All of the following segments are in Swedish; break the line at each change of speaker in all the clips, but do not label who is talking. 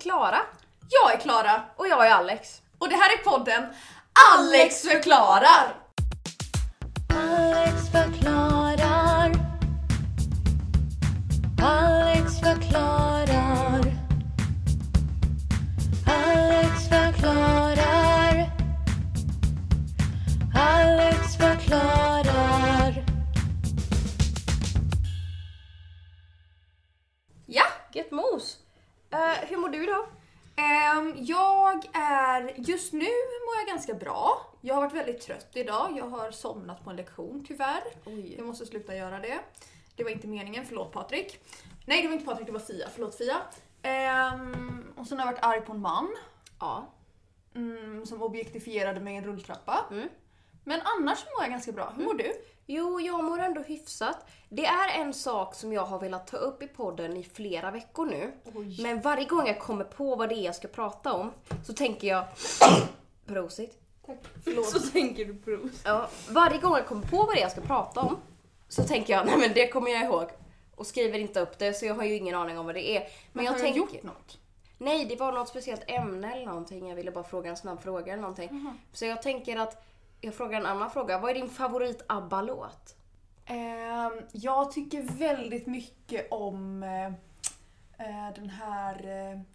Klara.
Jag är Klara
Och jag är Alex.
och det här är podden Alex förklarar!
Alex förklarar. Alex förklarar. Alex förklarar. Alex förklarar.
Ja,
Get mos. Eh, hur mår du då?
ehm, jag är... Just nu mår jag ganska bra. Jag har varit väldigt trött idag. Jag har somnat på en lektion tyvärr.
Oj.
Jag måste sluta göra det. Det var inte meningen, förlåt Patrik. Nej det var inte Patrik, det var Fia. Förlåt Fia. Ehm, och sen har jag varit arg på en man
Ja.
mm, som objektifierade mig i en rulltrappa.
Mm.
Men annars mår jag ganska bra. Hur mår du?
Jo, jag mår ändå hyfsat. Det är en sak som jag har velat ta upp i podden i flera veckor nu.
Oj.
Men varje gång jag kommer på vad det är jag ska prata om så tänker jag... Prosit.
Mm, Förlåt.
Så tänker du Bruce.
Ja, varje gång jag kommer på vad det är jag ska prata om så tänker jag, nej men det kommer jag ihåg. Och skriver inte upp det så jag har ju ingen aning om vad det är. Men,
Men
jag
har
tänker...
jag gjort något?
Nej, det var något speciellt ämne eller någonting. Jag ville bara fråga en snabb fråga eller någonting.
Mhm.
Så jag tänker att jag frågar en annan fråga. Vad är din favorit ABBA-låt?
Ehm, jag tycker väldigt mycket om eh, eh, den här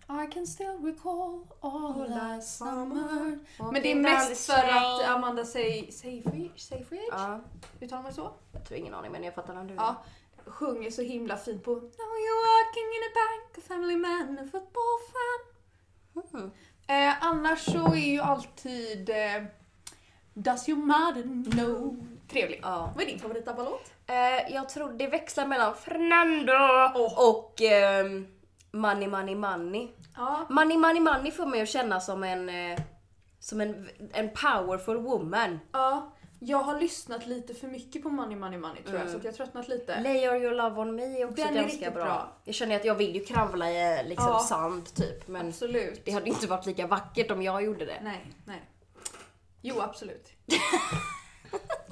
eh, I can still recall all last summer. Men det är mest för att Amanda Sey- Seyfried, Seyfried?
Ja,
uttalar man det så?
jag tror ingen aning men jag fattar vad du
Ja. Sjunger så himla fint på Now you're working in a bank, a family man, a football fan.
Mm.
Eh, annars så är ju alltid eh, Does your mother know? Trevlig.
Ja.
Vad är din favorit ABBA-låt?
Eh, jag tror det växlar mellan Fernando och ehm, Money Money Money.
Ja,
Money Money Money får mig att känna som en eh, som en, en powerful woman.
Ja, jag har lyssnat lite för mycket på Money Money Money tror jag så att jag har tröttnat lite.
Lay All Your Love On Me är också
Den är
ganska
riktigt
bra.
bra.
Jag känner att jag vill ju kravla i liksom
Ja.
sand typ men
Absolut.
det hade ju inte varit lika vackert om jag gjorde det.
Nej, nej. Jo, absolut.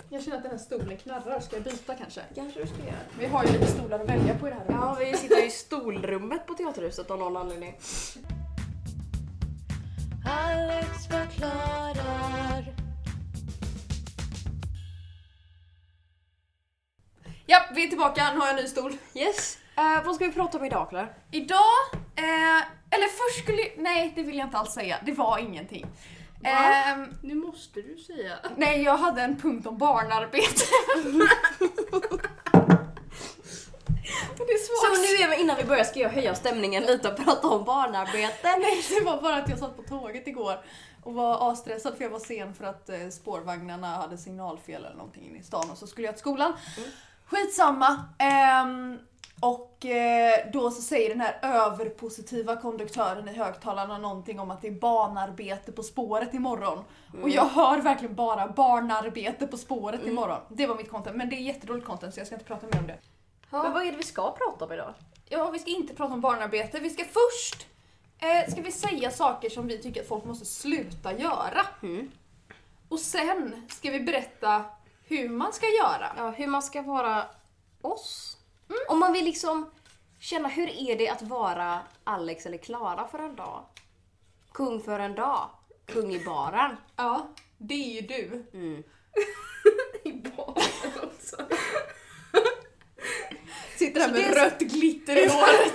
jag känner att den här stolen knarrar, ska jag byta kanske?
Kanske du ska göra.
Vi har ju lite stolar att välja på i det här rummet.
Ja, vi sitter i stolrummet på Teaterhuset av någon anledning.
Alex förklarar.
Ja, vi är tillbaka, nu har jag en ny stol.
Yes. Eh, vad ska vi prata om idag Clara?
Idag, eh, eller först skulle nej det vill jag inte alls säga, det var ingenting.
Va?
Ehm,
Nu måste du säga.
nej, jag hade en punkt om barnarbete. Men det är
Så
svårt.
nu är vi, innan vi börjar ska jag höja stämningen lite och prata om barnarbete.
Nej, det var bara att jag satt på tåget igår och var avstressad för jag var sen för att eh, spårvagnarna hade signalfel eller någonting inne i stan och så skulle jag till skolan. Skitsamma. Ehm, och eh, då så säger den här överpositiva konduktören i högtalarna någonting om att det är barnarbete på spåret imorgon. Och jag hör verkligen bara barnarbete på spåret imorgon. Det var mitt content, men det är jättedåligt content så jag ska inte prata mer om det.
Men vad är det vi ska prata om idag?
Ja, vi ska inte prata om barnarbete. Vi ska först eh, ska vi säga saker som vi tycker att folk måste sluta göra.
Mm.
Och sen ska vi berätta hur man ska göra.
Ja, hur man ska vara oss.
Mm.
Om man vill liksom känna hur är det att vara Alex eller Klara för en dag? Kung för en dag. Kung i baren. Mm.
Ja, det är ju du.
I baren också.
Sitter här
Så
med
det är
rött glitter i håret.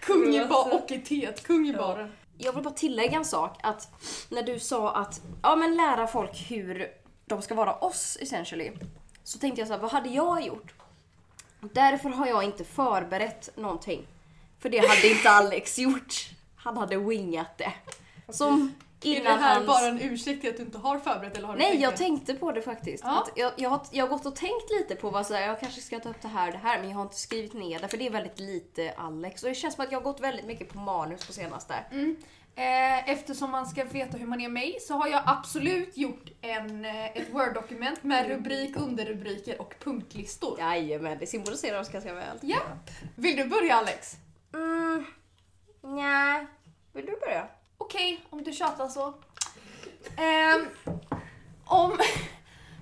Kung i bar
Rosa.
och i teet. Kung i baren.
Jag vill bara tillägga en sak. Att när du sa att ja, men lära folk hur de ska vara oss essentially. Så tänkte jag så här, vad hade jag gjort? Därför har jag inte förberett någonting. För det hade inte Alex gjort. Han hade wingat det. Som
Är det
innan
här
hans...
bara en ursäkt till att du inte har förberett eller har du
Nej,
tänkt
jag
det?
tänkte på det faktiskt.
Ja.
Att jag, jag, har, jag har gått och tänkt lite på vad så här, jag kanske ska ta upp det här och det här men jag har inte skrivit ner det för det är väldigt lite Alex. Och det känns som att jag har gått väldigt mycket på manus på senaste.
Mm. Eh, Eftersom man ska veta hur man är mig så har jag absolut gjort en, eh, ett Word-dokument med rubrik, underrubriker och punktlistor.
Jajamän, det symboliserar oss ganska väl.
Japp. Vill du börja Alex?
Mm, nja. Vill du börja?
Okej, om du tjatar så. Ehm, om...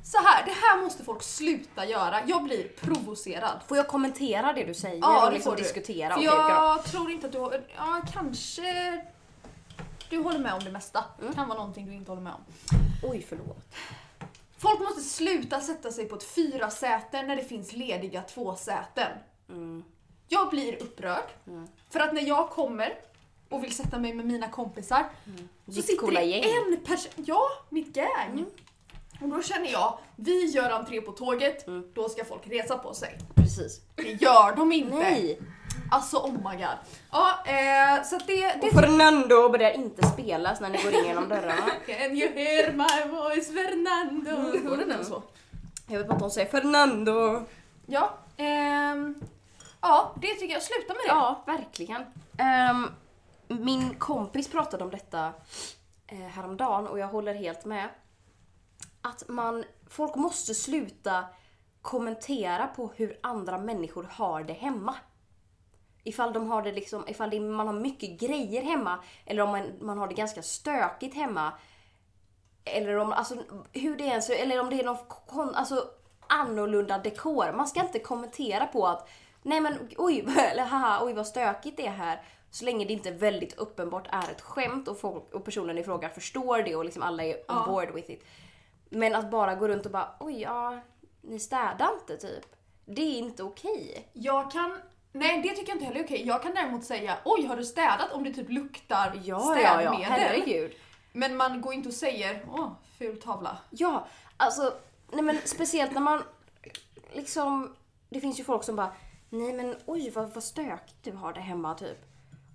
Så här, det här måste folk sluta göra. Jag blir provocerad.
Får jag kommentera det du säger
Ja,
och
det
liksom
får du.
diskutera?
För
Okej, bra.
jag tror inte att du har... Ja, kanske... Du håller med om det mesta.
Mm.
Kan vara någonting du inte håller med om.
Oj, förlåt.
Folk måste sluta sätta sig på ett fyra säten när det finns lediga två säten.
Mm.
Jag blir upprörd.
Mm.
För att när jag kommer och vill sätta mig med mina kompisar så
Mm. Ditt
sitter
coola
det
gäng. Mm.
en person... Ja, mitt gäng. Och då känner jag, vi gör entré på tåget,
Mm.
då ska folk resa på sig.
Precis.
Det gör de inte.
Nej!
Alltså oh my god. Ja, eh, så att det...
Och
det
Fernando börjar inte spelas när ni går in genom dörrarna.
Can you hear my voice
Mm.
Fernando? Går den ens så?
Jag vet bara att hon säger Fernando.
Ja, ehm, ja, det tycker jag. Sluta med det.
Ja, verkligen. Ehm, min kompis pratade om detta eh, häromdagen och jag håller helt med. Att man, folk måste sluta kommentera på hur andra människor har det hemma. Ifall, de har det liksom, ifall det, man har mycket grejer hemma eller om man, man har det ganska stökigt hemma. Eller om, alltså, hur det är, eller om det är någon kon, alltså, annorlunda dekor. Man ska inte kommentera på att nej men oj, eller haha, oj vad stökigt det är här. Så länge det inte väldigt uppenbart är ett skämt och, folk, och personen i fråga förstår det och liksom alla är on
Ja.
board with it. Men att bara gå runt och bara oj ja, ni städar inte typ. Det är inte okej.
Jag kan... Nej, det tycker jag inte heller är okej. Jag kan däremot säga oj, har du städat? Om det typ luktar
Ja, ja,
städmedel.
ja, herregud.
Men man går inte och säger åh, ful tavla.
Ja, alltså, nej men speciellt när man liksom, det finns ju folk som bara nej men oj vad, vad stökigt du har det hemma typ.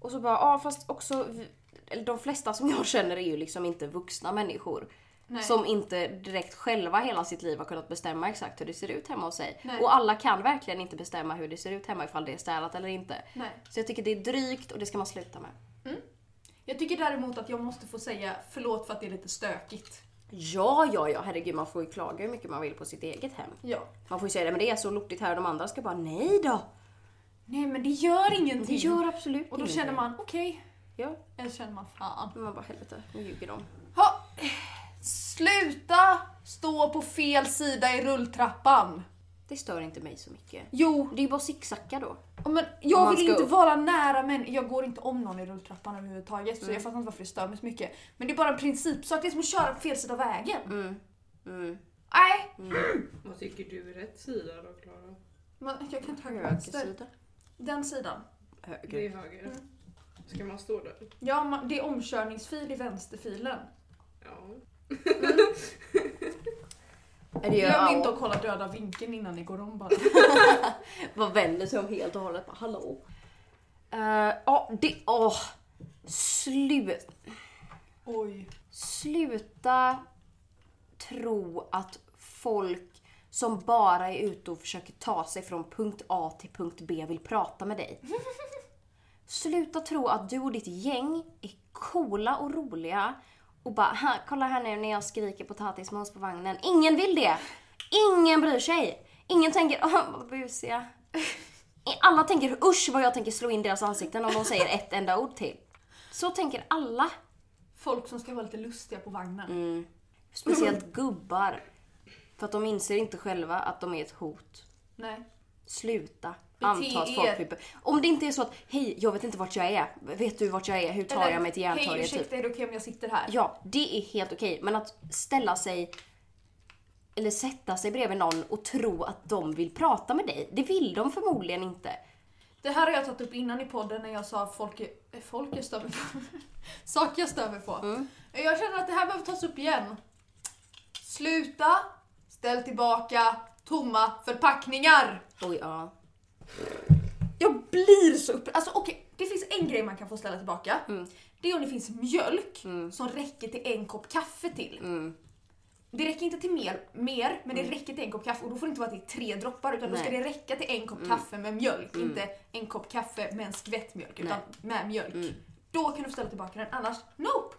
Och så bara ja fast också, vi- eller de flesta som jag känner är ju liksom inte vuxna människor.
Nej.
Som inte direkt själva hela sitt liv har kunnat bestämma exakt hur det ser ut hemma hos sig.
Nej.
Och alla kan verkligen inte bestämma hur det ser ut hemma ifall det är städat eller inte.
Nej.
Så jag tycker det är drygt och det ska man sluta med.
Jag tycker däremot att jag måste få säga förlåt för att det är lite stökigt.
Ja, ja, ja, herregud man får ju klaga hur mycket man vill på sitt eget hem.
Ja.
Man får ju säga det, men det är så lortigt här och de andra ska bara nej då.
Nej, men det gör
Det
ingenting.
gör absolut
och då
ingenting.
känner man okej.
Ja,
Eller så känner man fan.
men man bara helvete, nu ljuger de.
Ha. Sluta stå på fel sida i rulltrappan.
Det stör inte mig så mycket.
Jo,
Det är ju bara zigzacka då.
Ja, Men
Om
jag
man
vill
ska
inte
upp.
vara nära men jag går inte om någon i rulltrappan överhuvudtaget
Mm.
så jag fattar inte varför det stör mig så mycket. Men det är bara en principsak, det är som att köra på fel sida av vägen.
Mm. Mm.
Nej,
Vad tycker du är rätt sida då Klara?
men jag kan ta
Höger
vänster.
sida.
Den sidan.
Det
Höger.
är höger. Ska man stå där?
Ja, man- det är omkörningsfil i vänsterfilen.
Ja.
Är det ju,
Glöm inte
ja,
att kolla döda vinkeln innan ni går om bara.
vad vänder sig om helt och hållet. Bara, hallå. Eh, Ja, det... Åh! slut.
Oj.
Sluta tro att folk som bara är ute och försöker ta sig från punkt A till punkt B vill prata med dig. Sluta tro att du och ditt gäng är coola och roliga och bara "Ha, “kolla här nu när jag skriker potatismos på vagnen”. Ingen vill det! Ingen bryr sig! Ingen tänker “åh, vad busiga”. Alla tänker “usch vad jag tänker slå in deras ansikten om de säger ett enda ord till”. Så tänker alla.
Folk som ska vara lite lustiga på vagnen.
Mm. Speciellt gubbar. För att de inser inte själva att de är ett hot.
Nej.
Sluta
Bete
anta att folk
er.
vill... be- Om det inte är så att, hej, jag vet inte vart jag är. Vet du vart jag är? Hur tar jag mig till
Hej
Järntorget?
ursäkta,
typ.
är det okej om jag sitter här?
Ja, det är helt okej. Men att ställa sig eller sätta sig bredvid någon och tro att de vill prata med dig. Det vill de förmodligen inte.
Det här har jag tagit upp innan i podden när jag sa att folk, är- eh, folk jag stör mig på. Saker jag stör mig på. Jag känner att det här behöver tas upp igen. Sluta ställ tillbaka tomma förpackningar.
Oj, ja.
Jag blir så upprörd. Alltså okej, det finns en grej man kan få ställa tillbaka. Det är om det finns mjölk som räcker till en kopp kaffe till. Det räcker inte till mer, mer men det räcker till en kopp kaffe och då får det inte vara till tre droppar utan då ska
Nej.
det räcka till en kopp kaffe med mjölk. Inte en kopp kaffe med en skvätt mjölk utan med mjölk. Då kan du ställa tillbaka den annars, nope!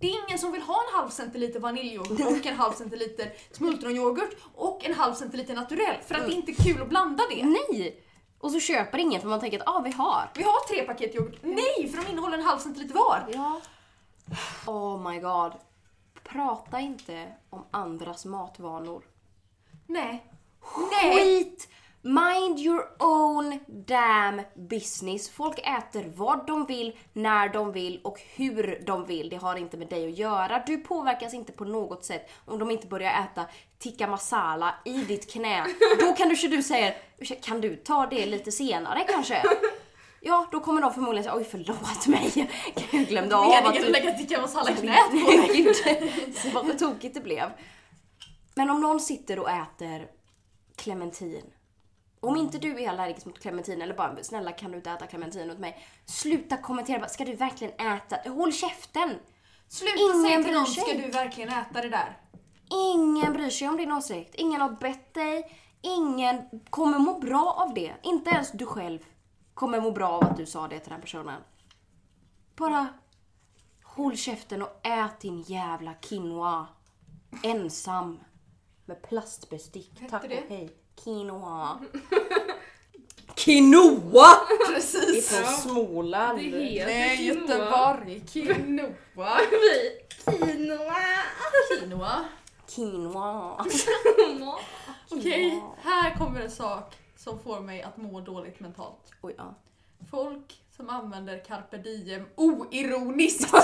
Det är ingen som vill ha en halv centiliter vaniljyoghurt och en halv centiliter smultronyoghurt och en halv centiliter naturell för att det är inte kul att blanda det.
Nej! Och så köper ingen för man tänker att, ah, vi har.
Vi har tre paket yoghurt. Nej, för de innehåller en halv centiliter var.
Ja. Oh my god. Prata inte om andras matvanor.
Nej. Nej.
Skit Mind your own damn business. Folk äter vad de vill, när de vill och hur de vill. Det har inte med dig att göra. Du påverkas inte på något sätt om de inte börjar äta tikka masala i ditt knä. Då kan du du säger "Ursäkta, kan du ta det lite senare kanske? Ja, då kommer de förmodligen säga oj förlåt mig. Jag glömde av att
Meningen att
du
lägga tikka masala i knät på mig.
Gud, så vad tokigt det blev. Men om någon sitter och äter clementin. Om inte du är allergisk mot clementin eller bara snälla kan du inte äta clementin åt mig. Sluta kommentera bara, ska du verkligen äta? Håll käften!
Sluta
Ingen
säga
bryr
till någon,
sig.
ska du verkligen äta det där?
Ingen bryr sig om din åsikt. Ingen har bett dig. Ingen kommer må bra av det. Inte ens du själv kommer må bra av att du sa det till den personen. Bara håll käften och ät din jävla quinoa. Ensam. Med plastbestick.
Hette
Tack och
det?
hej. Quinoa. Quinoa! Det
Precis.
är från Småland.
Det heter
Nej,
quinoa.
Göteborg. Quinoa.
Vi, quinoa!
Quinoa.
Quinoa.
Okej, här kommer en sak som får mig att må dåligt mentalt.
Oj, ja.
Folk som använder carpe diem oironiskt.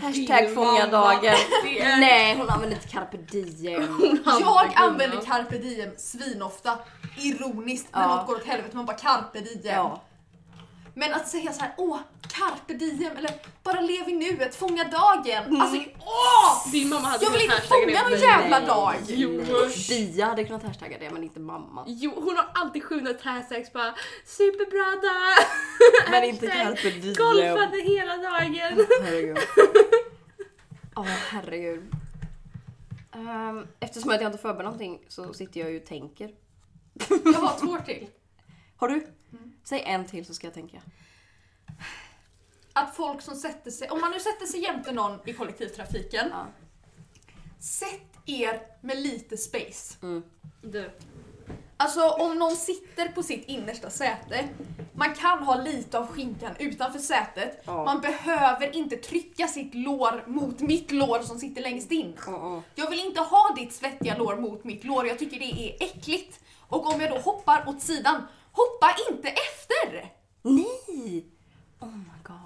Hashtag fånga dagen. Nej, hon använder inte carpe diem.
Jag använder carpe diem svinofta. Ironiskt när
Ja.
något går åt helvete. Man bara carpe diem.
Ja.
Men att säga så här, åh carpe diem eller bara lev i nuet, fånga dagen. Alltså åh!
Din mamma hade
Jag vill
den
inte
hashtaggen
fånga någon
efter dig.
jävla dag.
Jo.
Dia hade kunnat hashtagga det men inte mamma.
Jo, hon har alltid 700 hashtags bara superbra dag!
Men inte
Hashtag
carpe diem.
Golfade hela dagen!
Herregud. Ja herregud. Ehm, eftersom att jag inte förberett någonting så sitter jag ju och tänker.
Jag har två till.
Har du?
Mm.
Säg en till så ska jag tänka.
Att folk som sätter sig, om man nu sätter sig jämte någon i kollektivtrafiken.
Ja.
Sätt er med lite space.
Du,
Alltså om någon sitter på sitt innersta säte, man kan ha lite av skinkan utanför sätet.
Ja.
Man behöver inte trycka sitt lår mot mitt lår som sitter längst in. Jag vill inte ha ditt svettiga lår mot mitt lår, jag tycker det är äckligt. Och om jag då hoppar åt sidan, hoppa inte efter!
Nej! Oh my god.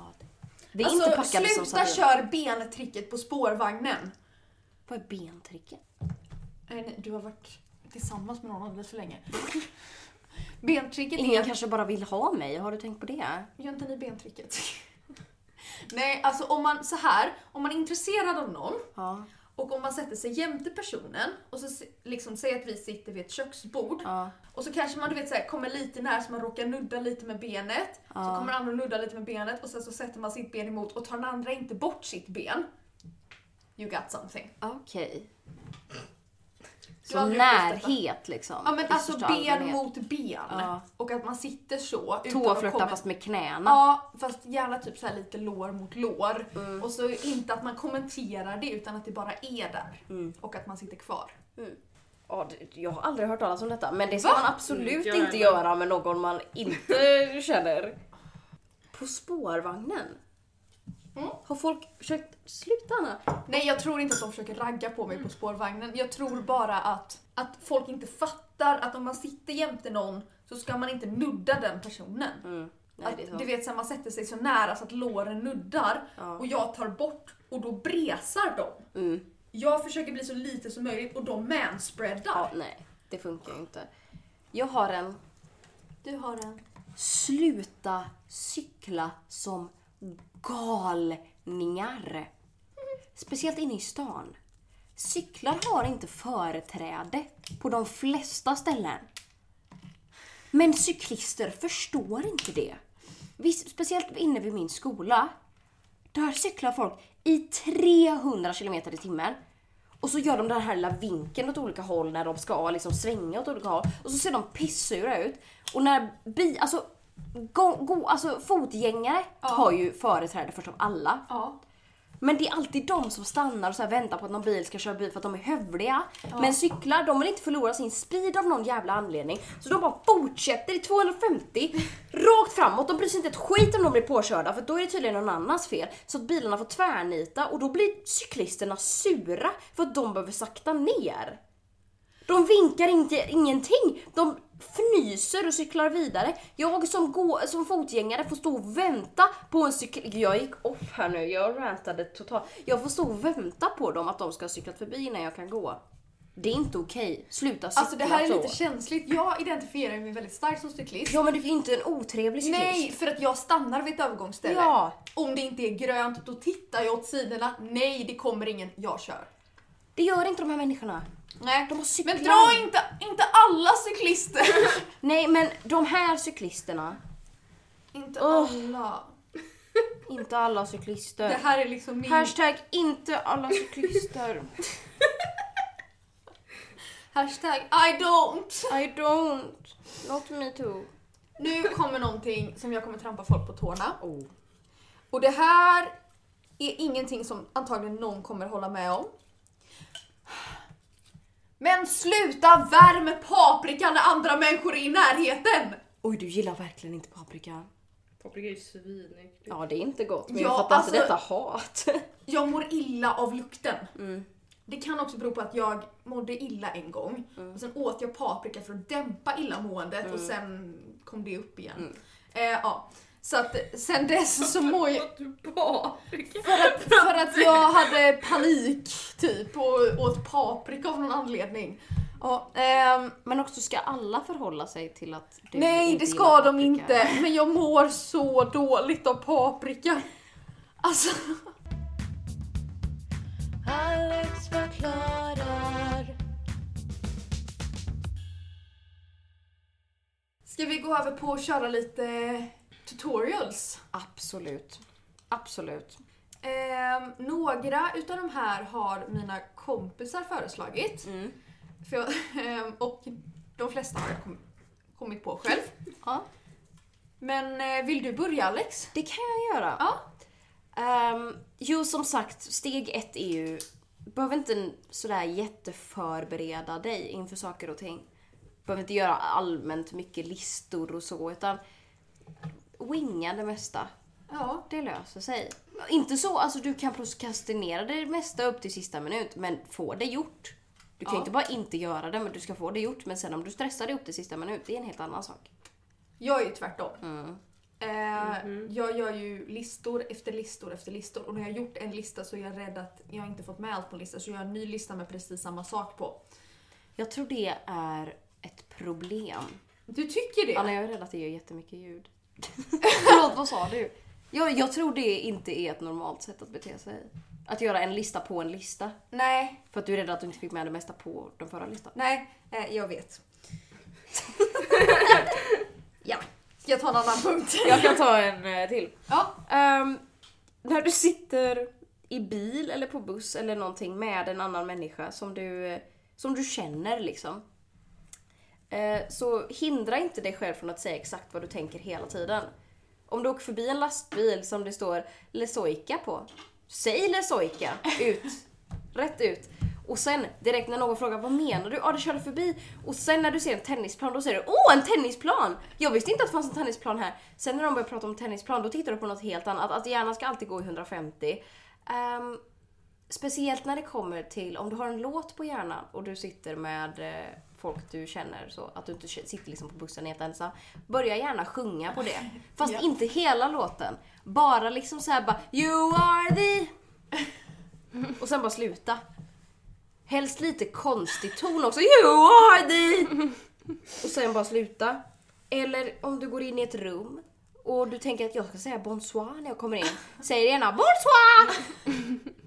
Vi är inte
Alltså
packade som
sluta
sardiner.
kör bentricket på spårvagnen.
Vad är bentricket?
Eh, nej, du har varit tillsammans med någon alldeles för länge. bentricket
Ingen
är...
kanske bara vill ha mig, har du tänkt på det?
Gör inte ni bentricket? nej, alltså om man så här, om man är intresserad av någon
Ja.
och om man sätter sig jämte personen och så se- liksom säger att vi sitter vid ett köksbord
ja.
Och så kanske man du vet, så här, kommer lite nära så man råkar nudda lite med benet. Så
Ja.
kommer andra nudda lite med benet och sen så sätter man sitt ben emot och tar den andra inte bort sitt ben. You got something.
Okej.
har
Så
aldrig upplevt detta.
närhet liksom.
Ja men
i
alltså
största
ben
allmänhet.
mot ben.
Ja.
Och att man sitter så. utan att
Tåflörtar
komma-
fast med knäna.
Ja, fast gärna typ så här lite lår mot lår.
Mm.
Och så inte att man kommenterar det utan att det bara är där.
Mm.
Och att man sitter kvar.
Ja, det- jag har aldrig hört talas om detta, men det ska
Va?
man absolut
Inte Mm, jag
inte
heller.
göra med någon man inte känner. På spårvagnen?
Mm.
Har folk försökt... Sluta Anna!
Nej jag tror inte att de försöker ragga på mig på spårvagnen. Jag tror bara att, att folk inte fattar att om man sitter jämte någon så ska man inte nudda den personen.
Mm. Nej, det är
att,
så.
du vet så här, man sätter sig så nära så att låren nuddar
Ja.
och jag tar bort och då bresar de.
Mm.
Jag försöker bli så lite som möjligt och de manspreadar.
Ja, nej, det funkar ju inte. Jag har en...
Du har en.
Sluta cykla som galningar. Speciellt inne i stan. Cyklar har inte företräde på de flesta ställen. Men cyklister förstår inte det. Visst, speciellt inne vid min skola. Där cyklar folk i 300 km i timmen. Och så gör de den här lilla vinkeln åt olika håll när de ska liksom svänga åt olika håll. Och så ser de pissura ut. Och när bi, alltså, gå, gå, alltså fotgängare har ju företräde först av alla.
Ja.
Men det är alltid de som stannar och så här väntar på att någon bil ska köra bil för att de är hövliga. Men cyklar, de vill inte förlora sin speed av någon jävla anledning. Så de bara fortsätter i 250 rakt framåt. De bryr sig inte ett skit om de blir påkörda för då är det tydligen någon annans fel. Så att bilarna får tvärnita och då blir cyklisterna sura för att de behöver sakta ner. De vinkar inte, ingenting. De fnyser och cyklar vidare. Jag som, gå, som fotgängare får stå och vänta på en cykel... Jag gick off här nu, jag rantade totalt. Jag får stå och vänta på dem att de ska ha cyklat förbi innan jag kan gå. Det är inte okej. Sluta cykla
Alltså det här är
så.
lite känsligt. Jag identifierar mig väldigt starkt som cyklist.
Ja men du är inte en otrevlig cyklist.
Nej, för att jag stannar vid ett övergångsställe.
Ja.
Om det inte är grönt, då tittar jag åt sidorna. Nej, det kommer ingen. Jag kör.
Det gör inte de här människorna.
Nej,
De har cyklar.
Men dra inte, inte alla cyklister.
Nej men de här cyklisterna,
inte
Åh.
alla.
inte alla
Det
cyklister.
här är liksom min...
Hashtag inte alla cyklister.
Hashtag I don't.
I don't. Not me too.
Nu kommer någonting som jag kommer trampa folk på tårna.
Oh.
Och det här är ingenting som antagligen någon kommer hålla med om. Men sluta värma paprika när andra människor är i närheten!
Oj du gillar verkligen inte paprika.
Paprika är ju svinäckligt.
Ja det är inte gott men
Ja,
jag fattar inte
alltså-
detta hat.
Jag mår illa av lukten.
Mm.
Det kan också bero på att jag mådde illa en gång.
Mm.
Och sen åt jag paprika för att dämpa illamåendet och sen kom det upp igen.
Mm.
Eh, ja. Så att sen dess så mår jag...
Åt du paprika?
För att, för att jag hade panik typ och åt paprika av någon anledning. Ja, ehm,
Men också ska alla förhålla sig till att du
nej
inte
det
gillar
ska de
paprika?
inte men jag mår så dåligt av paprika. Alltså,
Alex förklarar.
ska vi gå över på att köra lite tutorials?
Absolut. Absolut.
Ehm, några utav de här har mina kompisar föreslagit.
Mm.
För jag, ehm, och de flesta har jag kom, kommit på själv.
Ja.
Men eh, vill du börja Alex?
Det kan jag göra.
Ja.
Ehm, jo, som sagt, steg ett är ju... Behöver inte sådär jätteförbereda dig inför saker och ting. Behöver inte göra allmänt mycket listor och så, utan winga det mesta.
Ja.
Det löser sig. Inte så, alltså du kan prokrastinera det mesta upp till sista minut, men få det gjort. Du kan
Ja.
inte bara inte göra det, men du ska få det gjort. Men sen om du stressar dig upp till sista minut, det är en helt annan sak.
Jag är ju tvärtom.
Mm.
Eh, Jag gör ju listor efter listor efter listor och när jag har gjort en lista så är jag rädd att jag inte fått med allt på listan så jag gör en ny lista med precis samma sak på.
Jag tror det är ett problem.
Du tycker det?
Anna, jag är rädd att det gör jättemycket ljud. Förlåt, vad sa du? Jag, jag tror det inte är ett normalt sätt att bete sig. Att göra en lista på en lista.
Nej,
För att du är rädd att du inte fick med det mesta på den förra listan.
nej, eh, jag vet. ja, ska jag ta en annan punkt?
Jag kan ta en eh, till.
Ja,
Ehm, när du sitter i bil eller på buss eller någonting med en annan människa som du, eh, som du känner liksom. Eh, så hindra inte dig själv från att säga exakt vad du tänker hela tiden. Om du åker förbi en lastbil som det står Lesoica på, säg Lesoica ut, rätt ut. Och sen direkt när någon frågar vad menar du? Ja, ah, det körde förbi. Och sen när du ser en tennisplan då säger du åh en tennisplan! Jag visste inte att det fanns en tennisplan här. Sen när de börjar prata om tennisplan då tittar du på något helt annat. Att hjärnan ska alltid gå i 150. Ehm, Speciellt när det kommer till om du har en låt på hjärnan och du sitter med eh, folk du känner så att du inte k- sitter liksom på bussen helt ensam. Börja gärna sjunga på det. Fast
Ja.
inte hela låten. Bara liksom såhär bara You are the... Och sen bara sluta. Helst lite konstig ton också. You are the... Och sen bara sluta. Eller om du går in i ett rum och du tänker att jag ska säga bonsoir när jag kommer in. Säg gärna bonsoir!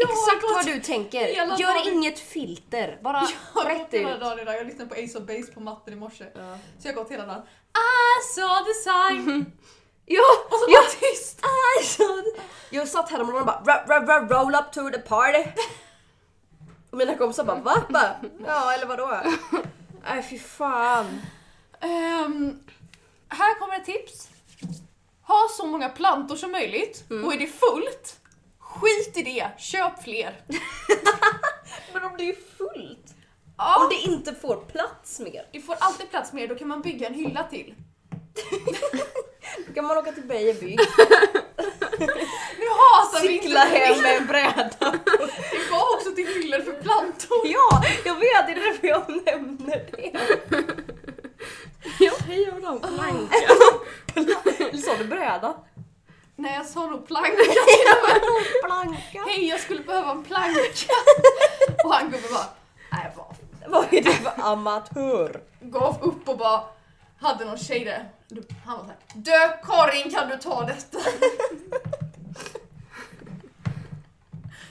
Exakt vad du tänker.
Hela
Gör
dagen.
inget filter. Bara
Jag har gått
rätt
hela
ut.
dagen idag. Jag lyssnade på Ace of Base på matten i morse.
Ja.
Så jag har gått hela dagen. I saw the sign!
Ja,
Och så
ja.
var det tyst!
Alltså, jag satt häromdagen och bara ra, ra, ra, roll up to the party. Och mina kompisar bara va? Bara, ja eller vadå? Nej fy fan.
Ehm, här kommer ett tips. Ha så många plantor som möjligt och är det fullt, skit i det, köp fler.
Men om det är fullt
Ja,
och det inte får plats mer.
det får alltid plats mer, då kan man bygga en hylla till.
Då kan man åka till Beijer bygg,
Nu hasar vi
cykla
inte till
hem med en bräda.
Det var också till hyllor för plantor.
Ja, jag vet det är därför jag nämner det.
Jag hejar väl dem planka.
Eller sa du bröda?
Nej jag sa nog plank.
Planka?
Hej jag skulle behöva en plank. och han gubben bara, nej bara
Vad är det för amatör?
gav upp och bara hade någon tjej där. Han var såhär, dö Karin kan du ta detta?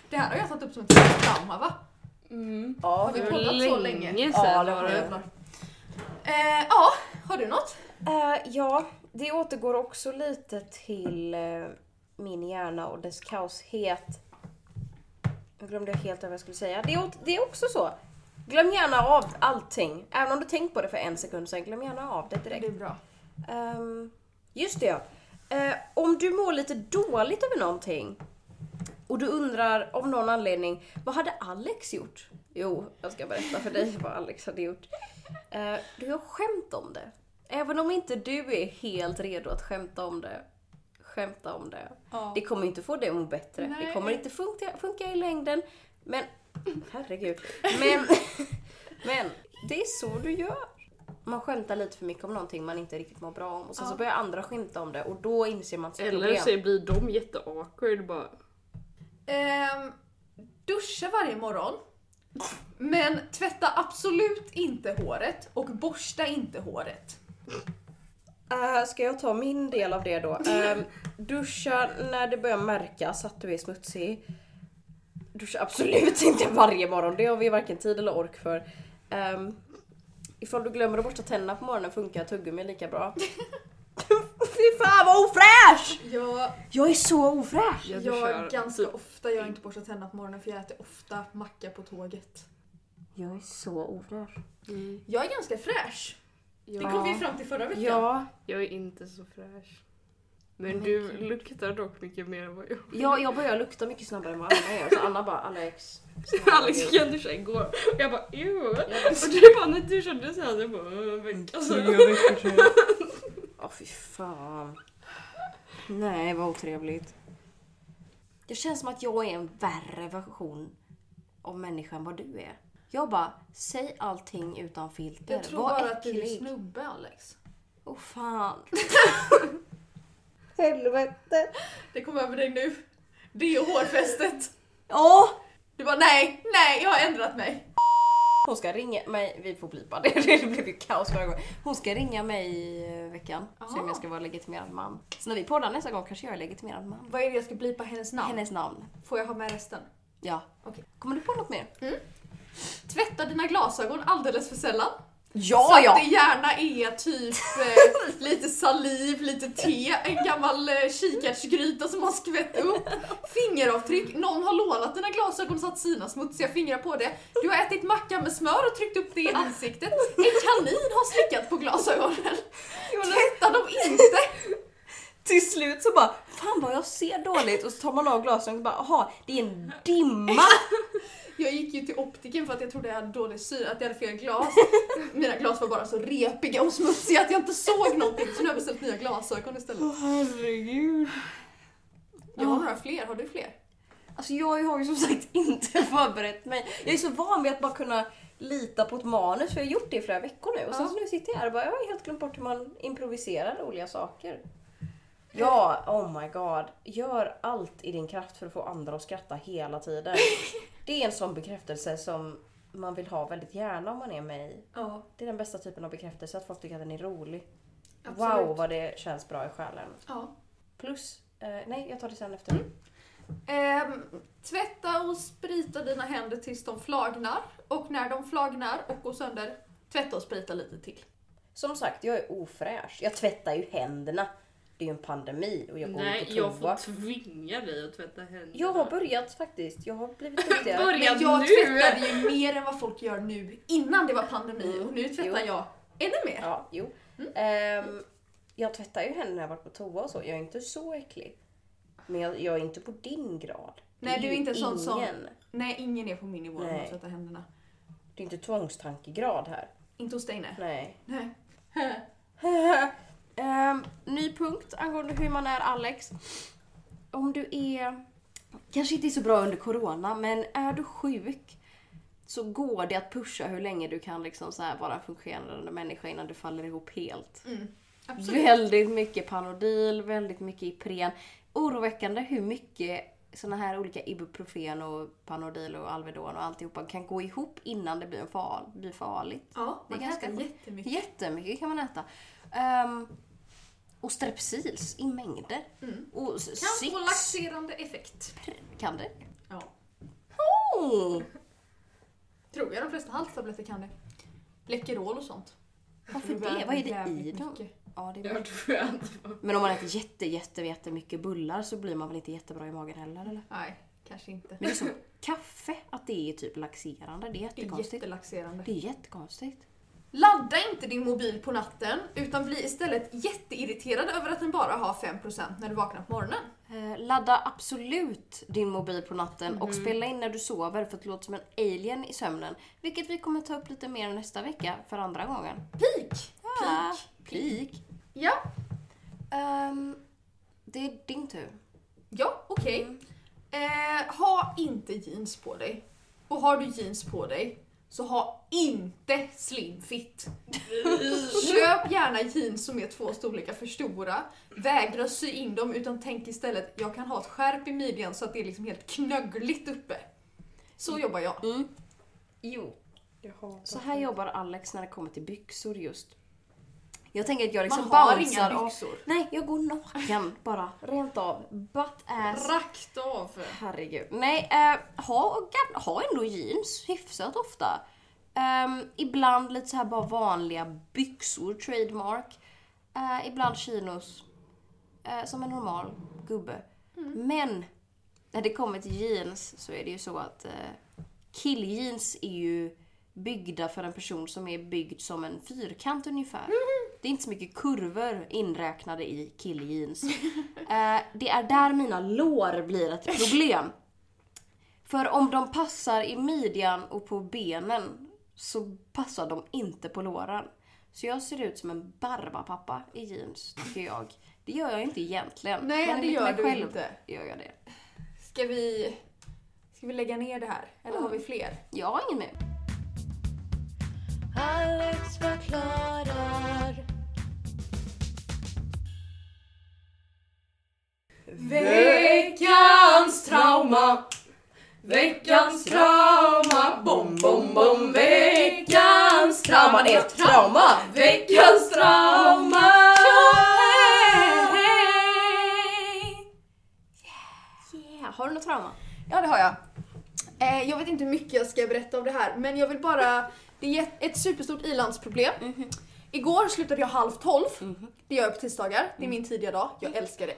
det här har jag satt upp som ett trauma va?
Mm.
Ja,
Har vi poddat så länge?
Ja,
sedan
det
var
var
det.
det.
Jävlar. Eh, ja, har du något?
Eh, ja, det återgår också lite till eh, min hjärna och dess kaoshet. Jag glömde helt vad jag skulle säga. Det är, åt- det är också så. Glöm gärna av allting. Även om du tänkt på det för en sekund sen, glöm gärna av det direkt.
är bra.
Ehm, just det ja. Eh, om du mår lite dåligt över någonting och du undrar av någon anledning, vad hade Alex gjort? Jo, jag ska berätta för dig vad Alex hade gjort. Eh, du har skämt om det. Även om inte du är helt redo att skämta om det. Skämta om det.
Ja.
Det kommer inte få dig att må bättre. Det
Nej.
kommer inte funka, funka i längden. Men, herregud. Men, men, det är så du gör. Man skämtar lite för mycket om någonting man inte riktigt mår bra om och sen så börjar andra skämta om det och då inser man sitt
Eller
problem.
så blir de jätteawkward bara.
Ehm, duscha varje morgon. Men tvätta absolut inte håret och borsta inte håret.
Eh, ska jag ta min del av det då? Ehm, duscha när det börjar märkas att du är smutsig. Duscha absolut inte varje morgon, det har vi varken tid eller ork för. Um, ifall du glömmer att borsta tänderna på morgonen funkar tuggummi lika bra. Fy fan vad ofräsch!
Jag,
Jag är så ofräsch!
Jag duschar
jag ganska
typ-
ofta, jag har inte borstat tänderna på morgonen för jag äter ofta macka på tåget.
Jag är så ofräsch.
Typ.
Mm.
Jag är ganska fräsch. Det
Ja.
kom vi fram till förra veckan.
Ja,
Jag är inte så fräsch. Men du luktar dock mycket mer än vad jag
jag, jag börjar lukta mycket snabbare än vad Anna gör så Anna bara Alex. snälla
Alex
Gud."
gick jag duscha igår och jag bara ew. Och du bara när du körde så här jag bara "Äh, en
Mm.
vecka sedan.
Åh fy fan. Nej vad otrevligt. Det känns som att jag är en värre version av människan än vad du är. Jag bara, säg allting utan filter.
Jag tror
Var
bara att du är
äcklig.
snubbe Alex.
Åh fan.
Det kom över dig nu. Det och hårfästet.
Åh!
Du bara nej, nej, jag har ändrat mig.
Hon ska ringa mig, vi får blipa det, det blev ju kaos förra gången. Hon ska ringa mig i eh, veckan. Se om
Aha.
jag ska vara legitimerad man. Så när vi poddar nästa gång kanske jag är legitimerad man.
Vad är det jag ska blipa hennes namn?
Hennes namn.
Får jag ha med resten?
Ja.
Okej.
Kommer du på något mer?
Tvätta dina glasögon alldeles för sällan.
Ja,
Att det gärna är typ eh, lite saliv, lite te, en gammal eh, kikärtsgryta som har skvätt upp, fingeravtryck, någon har lånat dina glasögon och satt sina smutsiga fingrar på det, du har ätit macka med smör och tryckt upp det
Ah.
i ansiktet, en kanin har slickat på glasögonen. Tvätta dem inte!
Till slut så bara, fan vad jag ser dåligt och så tar man av glasögonen och bara, aha, det är en dimma.
Jag gick ju till optiken för att jag trodde jag hade dålig syn, att jag hade fel glas. Mina glas var bara så repiga och smutsiga att jag inte såg någonting, så nu har jag beställt nya glasögon istället.
Herregud.
Jag har några fler, har du fler?
Alltså jag har ju som sagt inte förberett mig. Jag är så van vid att bara kunna lita på ett manus för jag har gjort det i flera veckor nu och sen
Ja.
så nu sitter jag här och bara, jag har helt glömt bort hur man improviserar roliga saker. Ja, oh my god. Gör allt i din kraft för att få andra att skratta hela tiden. Det är en sån bekräftelse som man vill ha väldigt gärna om man är mig.
Ja.
Det är den bästa typen av bekräftelse, att folk tycker att den är rolig.
Absolut.
Wow vad det känns bra i själen.
Ja.
Plus, eh, nej jag tar det sen efter.
Mm. Ehm, tvätta och sprita dina händer tills de flagnar. Och när de flagnar och går sönder, tvätta och sprita lite till.
Som sagt, jag är ofräsch. Jag tvättar ju händerna. Det är ju en pandemi och jag går
Nej
inte på
jag får
toa.
tvinga dig att tvätta händerna.
Jag har börjat faktiskt. Jag har blivit duktigare.
Börja
Men jag
nu!
tvättade ju mer än vad folk gör nu, innan det var pandemi.
Mm.
Och nu tvättar
Jo.
jag ännu mer.
ja, jo.
Mm.
Ehm, jag tvättar ju händerna när jag varit på toa och så. Jag är inte så äcklig. Men jag, jag är inte på din grad. Det
Nej, du är
ju
inte sån som-
ingen.
Nej, ingen är på min nivå när man
Nej.
tvättar händerna.
Det är inte tvångstankegrad här.
Inte hos dig nej.
Nej.
nej.
Ehm, ny punkt angående hur man är Alex. Om du är, kanske inte är så bra under corona, men är du sjuk så går det att pusha hur länge du kan liksom så här vara en fungerande människa innan du faller ihop helt.
Mm.
Väldigt mycket Panodil, väldigt mycket Ipren. Oroväckande hur mycket såna här olika Ibuprofen och Panodil och Alvedon och alltihopa kan gå ihop innan det blir, en far, blir farligt.
Ja,
Det
man
är
kan äta
ganska-
jättemycket.
Jättemycket kan man äta. Ehm, och strepsils i mängder. Och s-
Kan få
Six
laxerande effekt.
kan det.
Ja.
Oh,
Tror jag de flesta halstabletter kan det. Läkerol och sånt.
varför det?
Typ Jävligt
Vad är det i
mycket.
dem? Ja, det
Det
är
har skönt.
Men om man äter jätte, jätte, jättemycket bullar så blir man väl inte jättebra i magen heller eller?
Nej, kanske inte.
Men det är som kaffe, att det är typ laxerande. Det är
Det är
jättekonstigt.
jättelaxerande.
Det är jättekonstigt.
Ladda inte din mobil på natten utan bli istället jätteirriterad över att den bara har 5% när du vaknar på morgonen.
Eh, Ladda absolut din mobil på natten och spela in när du sover för att du låter som en alien i sömnen. Vilket vi kommer ta upp lite mer nästa vecka för andra gången.
Peak!
Ah, Pik.
Ja,
Ehm, det är din tur.
ja okej. Eh, ha inte jeans på dig. Och har du jeans på dig så ha inte slim fit. Köp gärna jeans som är två storlekar för stora. Vägra sy in dem utan tänk istället jag kan ha ett skärp i midjan så att det är liksom helt knöggligt uppe. Så jobbar jag.
Jo, så här jobbar Alex när det kommer till byxor just. Jag tänker att jag liksom
Man har
bouncear
inga
av-
byxor.
Nej, jag går naken bara. Rent av. Butt ass.
Rakt av.
Herregud. Nej, eh, ha, och gan- ha ändå jeans hyfsat ofta. Ehm, ibland lite så här bara vanliga byxor, trademark. Eh, ibland chinos. Eh, som en normal gubbe.
Mm.
Men när det kommer till jeans så är det ju så att eh, killjeans är ju byggda för en person som är byggd som en fyrkant ungefär. Det är inte så mycket kurvor inräknade i killjeans. Eh, det är där mina lår blir ett problem. För om de passar i midjan och på benen så passar de inte på låren. Så jag ser ut som en barbapappa i jeans tycker jag. Det gör jag inte egentligen.
Nej,
men
det
enligt
gör
mig
du
själv
inte.
Gör jag det.
Ska vi, ska vi lägga ner det här? Eller har vi fler?
Jag har ingen mer.
Alex förklarar.
Veckans trauma. Veckans trauma. Bom, bom, bom. Veckans trauma. Det är ett trauma. Veckans trauma.
Yeah. Har du något trauma?
Ja, det har jag. Eh, jag vet inte hur mycket jag ska berätta om det här, men jag vill bara... Det är ett, ett superstort ilandsproblem. Igår slutade jag halv tolv. Det gör jag på tisdagar. Det är min tidiga dag. Jag älskar det.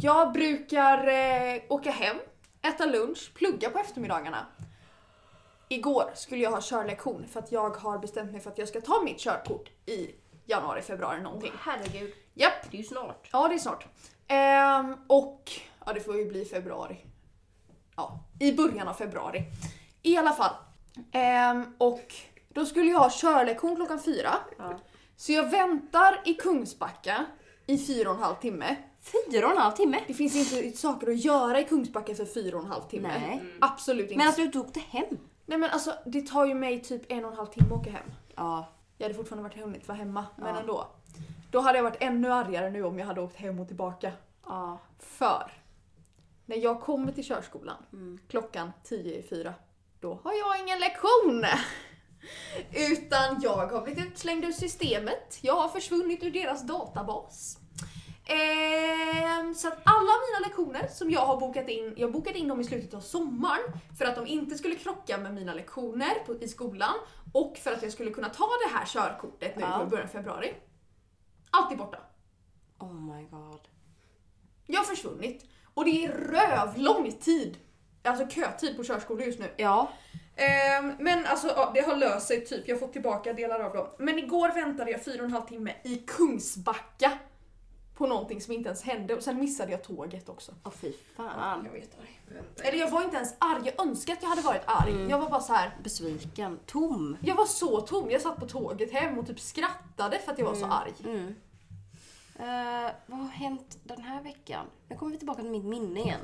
Jag brukar eh, åka hem, äta lunch, plugga på eftermiddagarna. Igår skulle jag ha körlektion för att jag har bestämt mig för att jag ska ta mitt körkort i januari, februari någonting.
Herregud,
Japp!
det är ju snart.
Ja, det är snart. Ehm, och ja, det får ju bli februari. Ja, i början av februari. I alla fall. Ehm, och då skulle jag ha körlektion klockan fyra. Så jag väntar i Kungsbacka i fyra och en halv timme.
Fyra och en halv timme?
Det finns inte saker att göra i Kungsbacka för fyra och en halv timme.
Nej.
Absolut inte.
Men att du inte åkte hem?
Nej men alltså det tar ju mig typ en och en halv timme att åka hem.
Ja.
Jag hade fortfarande varit hunnit vara hemma, men
Ja.
ändå. Då hade jag varit ännu argare nu om jag hade åkt hem och tillbaka.
ja.
För när jag kommer till körskolan klockan tio i fyra, då har jag ingen lektion. Utan jag har blivit utslängd ur systemet. Jag har försvunnit ur deras databas. Ehm, så att alla mina lektioner som jag har bokat in, jag bokade in dem i slutet av sommaren för att de inte skulle krocka med mina lektioner på, i skolan och för att jag skulle kunna ta det här körkortet nu
Ja.
i början av februari. Allt är borta.
Oh my god.
Jag har försvunnit. Och det är rövlång tid. Alltså kötid på körskolor just nu.
Ja.
Ehm, men alltså ja, det har löst sig typ. Jag har fått tillbaka delar av dem. Men igår väntade jag fyra och en halv timme i Kungsbacka. På någonting som inte ens hände och sen missade jag tåget också.
Åh fy fan.
Jag vet arg. Eller jag var inte ens arg. Jag önskar att jag hade varit arg.
Mm.
Jag var bara så här.
Besviken. Tom.
Jag var så tom. Jag satt på tåget hem och typ skrattade för att jag var så arg.
Mm. Eh, vad har hänt den här veckan? Nu kommer vi tillbaka till mitt minne igen.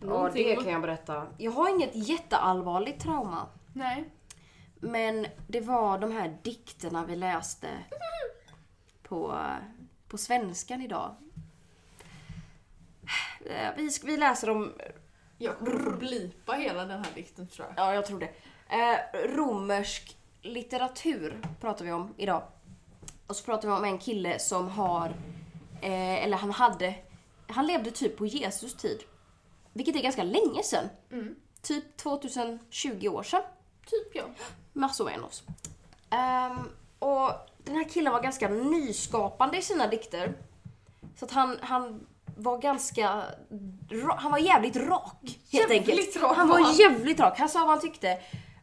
Ja,
Någonting
det
va?
kan jag berätta. Jag har inget jätteallvarligt trauma.
Nej.
Men det var de här dikterna vi läste på, på svenskan idag. Eh, Vi, sk- vi läser om,
Jag kommer att blipa hela den här dikten tror jag.
ja jag tror det, eh, romersk litteratur pratar vi om idag. Och så pratar vi om en kille som har, eh, eller han hade, han levde typ på Jesus tid. Vilket är ganska länge sedan. Typ 2020 år sedan.
Typ ja.
massor med oss. Ehm, och den här killen var ganska nyskapande i sina dikter. Så att han, han var ganska... ra- Han var jävligt rak, helt
Jävligt
enkelt.
rak
han
var
var
han.
jävligt rak. Han sa vad han tyckte.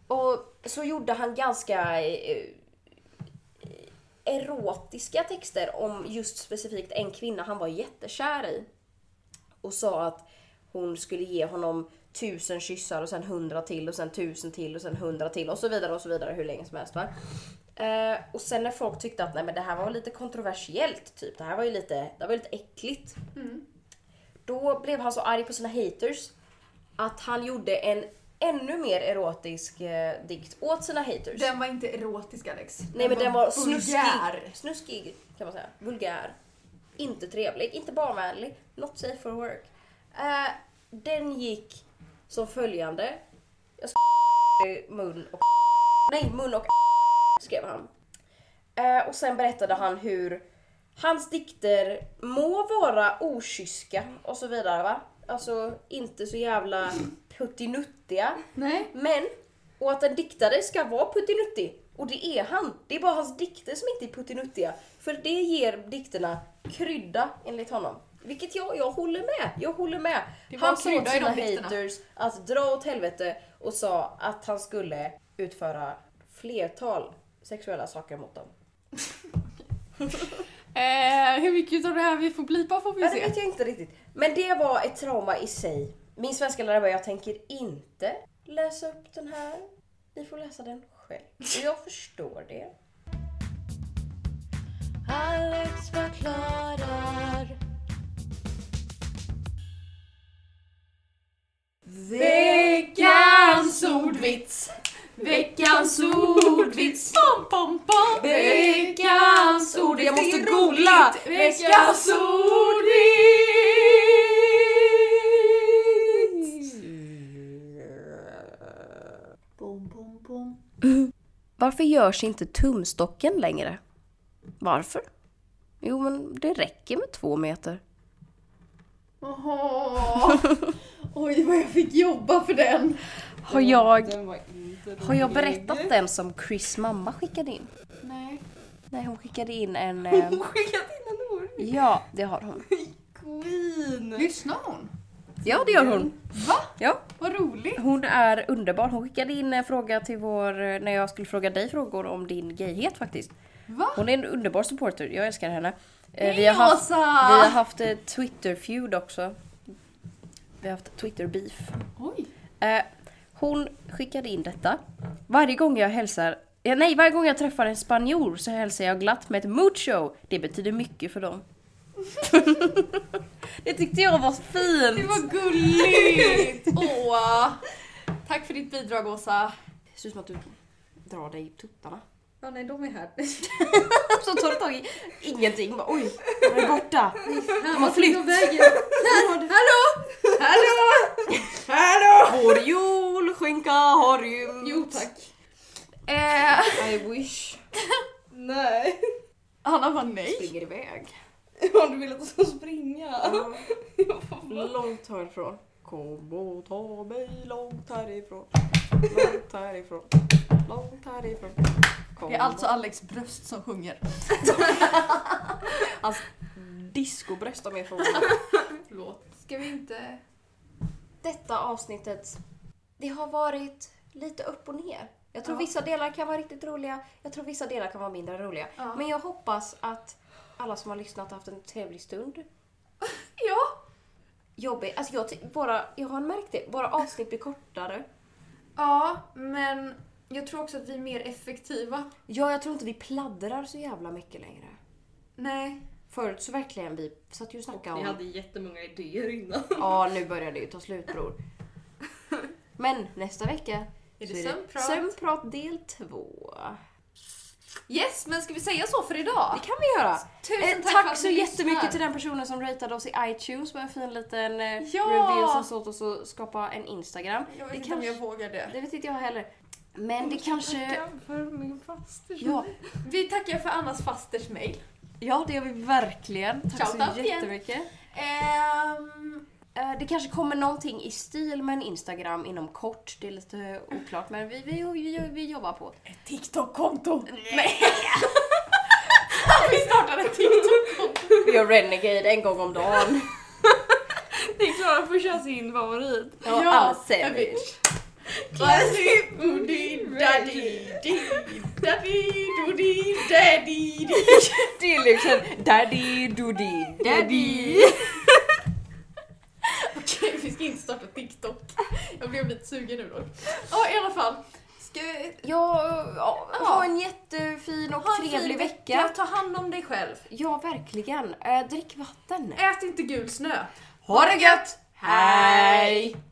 Och så gjorde han ganska eh, erotiska texter om just specifikt en kvinna han var jättekär i. Och sa att hon skulle ge honom tusen kyssar och sen hundra till och sen tusen till och sen hundra till och så vidare och så vidare hur länge som helst. Va? Eh, och sen när folk tyckte att nej men det här var lite kontroversiellt, typ det här var ju lite, det här var ju lite äckligt. Då blev han så arg på sina haters att han gjorde en ännu mer erotisk eh, dikt åt sina haters.
Den var inte erotisk Alex.
Nej men den var
vulgär.
snuskig. Snuskig kan man säga. Vulgär. Inte trevlig, inte barnvänlig. Not safe for work. Eh, den gick som följande. Jag ska i mun och Nej, mun och skrev han. Eh, och sen berättade han hur hans dikter må vara okysska och så vidare va. Alltså inte så jävla puttinuttiga.
Nej.
Men, och att en diktare ska vara puttinuttig. Och det är han. Det är bara hans dikter som inte är puttinuttiga. För det ger dikterna krydda enligt honom. Vilket jag, jag håller med. Jag håller med.
Det var
Han sa åt
krydda i
sina
de dikterna.
haters att dra åt helvete och sa att han skulle utföra flertal sexuella saker mot dem.
Eh, hur mycket av det här vi får blipa får vi
Ja, det
se.
vet jag inte riktigt. Men det var ett trauma i sig. Min svenska lärare bara, jag tänker inte läsa upp den här. Ni får läsa den själv. Och jag förstår det.
Alex förklarar.
Veckans ordvits! Veckans ordvits!
Pom, pom, pom.
Veckans ordvits! Jag
måste
googla! Veckans ordvits!
Bom, bom, bom.
Varför görs inte tumstocken längre? Varför? Jo, men det räcker med två meter.
Åh. Oj vad jag fick jobba för den.
Har jag, har jag
Mm.
berättat den som Chris mamma skickade in?
Nej.
Nej, hon skickade in en... eh,
Skickat in en ord!
Ja, det har hon.
Queen!
Lyssnar hon?
Ja, det gör hon.
Va?
Ja,
Vad roligt.
hon är underbar. Hon skickade in en fråga till vår... eh, När jag skulle fråga dig frågor om din gayhet faktiskt.
Va?
Hon är en underbar supporter. Jag älskar henne. Eh,
Hej Åsa!
Vi har haft ett Twitter-feud också. Vi har haft Twitter-beef.
Oj.
Eh, hon skickade in detta. Varje gång jag hälsar Ja, nej, varje gång jag träffar en spanjor så hälsar jag glatt med ett mucho. Det betyder mycket för dem. det tyckte jag var
Det
fint.
var gulligt! Åh! Tack för ditt bidrag Åsa.
Det ser ut som att du drar dig i tuttarna.
Ja, nej, de är här.
Så tar du tag i ingenting. Bara, Oj, de är borta. De har flytt.
Hallå!
Vår julskinka har rymt.
Jo, tack. Eh,
I wish.
Nej,
Anna var nej.
Springer iväg.
om du vill att jag ska springa.
Långt härifrån. Kom och ta mig långt härifrån.
Långt härifrån. Långt härifrån.
Det är alltså Alex bröst som sjunger.
Discobröst om er frågar.
Ska vi inte...
Detta avsnittet, det har varit lite upp och ner. Jag tror vissa delar kan vara riktigt roliga, jag tror vissa delar kan vara mindre roliga.
Ja.
Men jag hoppas att alla som har lyssnat har haft en trevlig stund.
Ja.
Jobbig. Alltså jag, ty- våra, jag har märkt det, våra avsnitt blir kortare.
Ja, men jag tror också att vi är mer effektiva.
Ja, jag tror inte vi pladdrar så jävla mycket längre.
Nej.
Förut så verkligen vi satt ju och snackade om...
Vi hade jättemånga idéer innan.
Ja, nu börjar det ju ta slut bror. Men nästa vecka
Är
Så
det
är
sömnprat?
Sömnprat del två.
Yes, men ska vi säga så för idag?
Det kan vi göra.
Tusen
Eh,
tack,
tack
för att
så
ni
jättemycket
lyssnar.
till den personen som ratade oss i iTunes med en fin liten eh,
Ja!
review som såg oss att skapa en Instagram.
Jag vet
Det
inte om
kanske-
jag vågar det.
Det vet inte jag heller. Men det kanske...
för min faster.
Ja,
Vi tackar för Annas fasters mail.
ja, det gör vi verkligen. Tack
Shout out
så
igen.
jättemycket.
Ehm,
Eh, Det kanske kommer någonting i stil med en Instagram inom kort. Det är lite oklart men vi, vi, vi, vi jobbar på det.
Ett TikTok-konto!
vi startar en TikTok.
Vi gör Renegade en gång om dagen.
Det är Klara får köra sin favorit.
Ja,
Ja,
all
jag vet.
savage.
Classic Moody Daddy Dee Daddy Doody Daddy Dee
Det är liksom daddy doody daddy.
Okej, vi ska inte starta TikTok. Jag blev lite sugen nu då. Ja, i alla fall. Ska vi
Ja, ja, ha en jättefin och
ha en
trevlig
fin
vecka.
Ta hand om dig själv.
Ja, verkligen. Eh, drick vatten.
Ät inte gul snö.
Ha det gött!
Hej!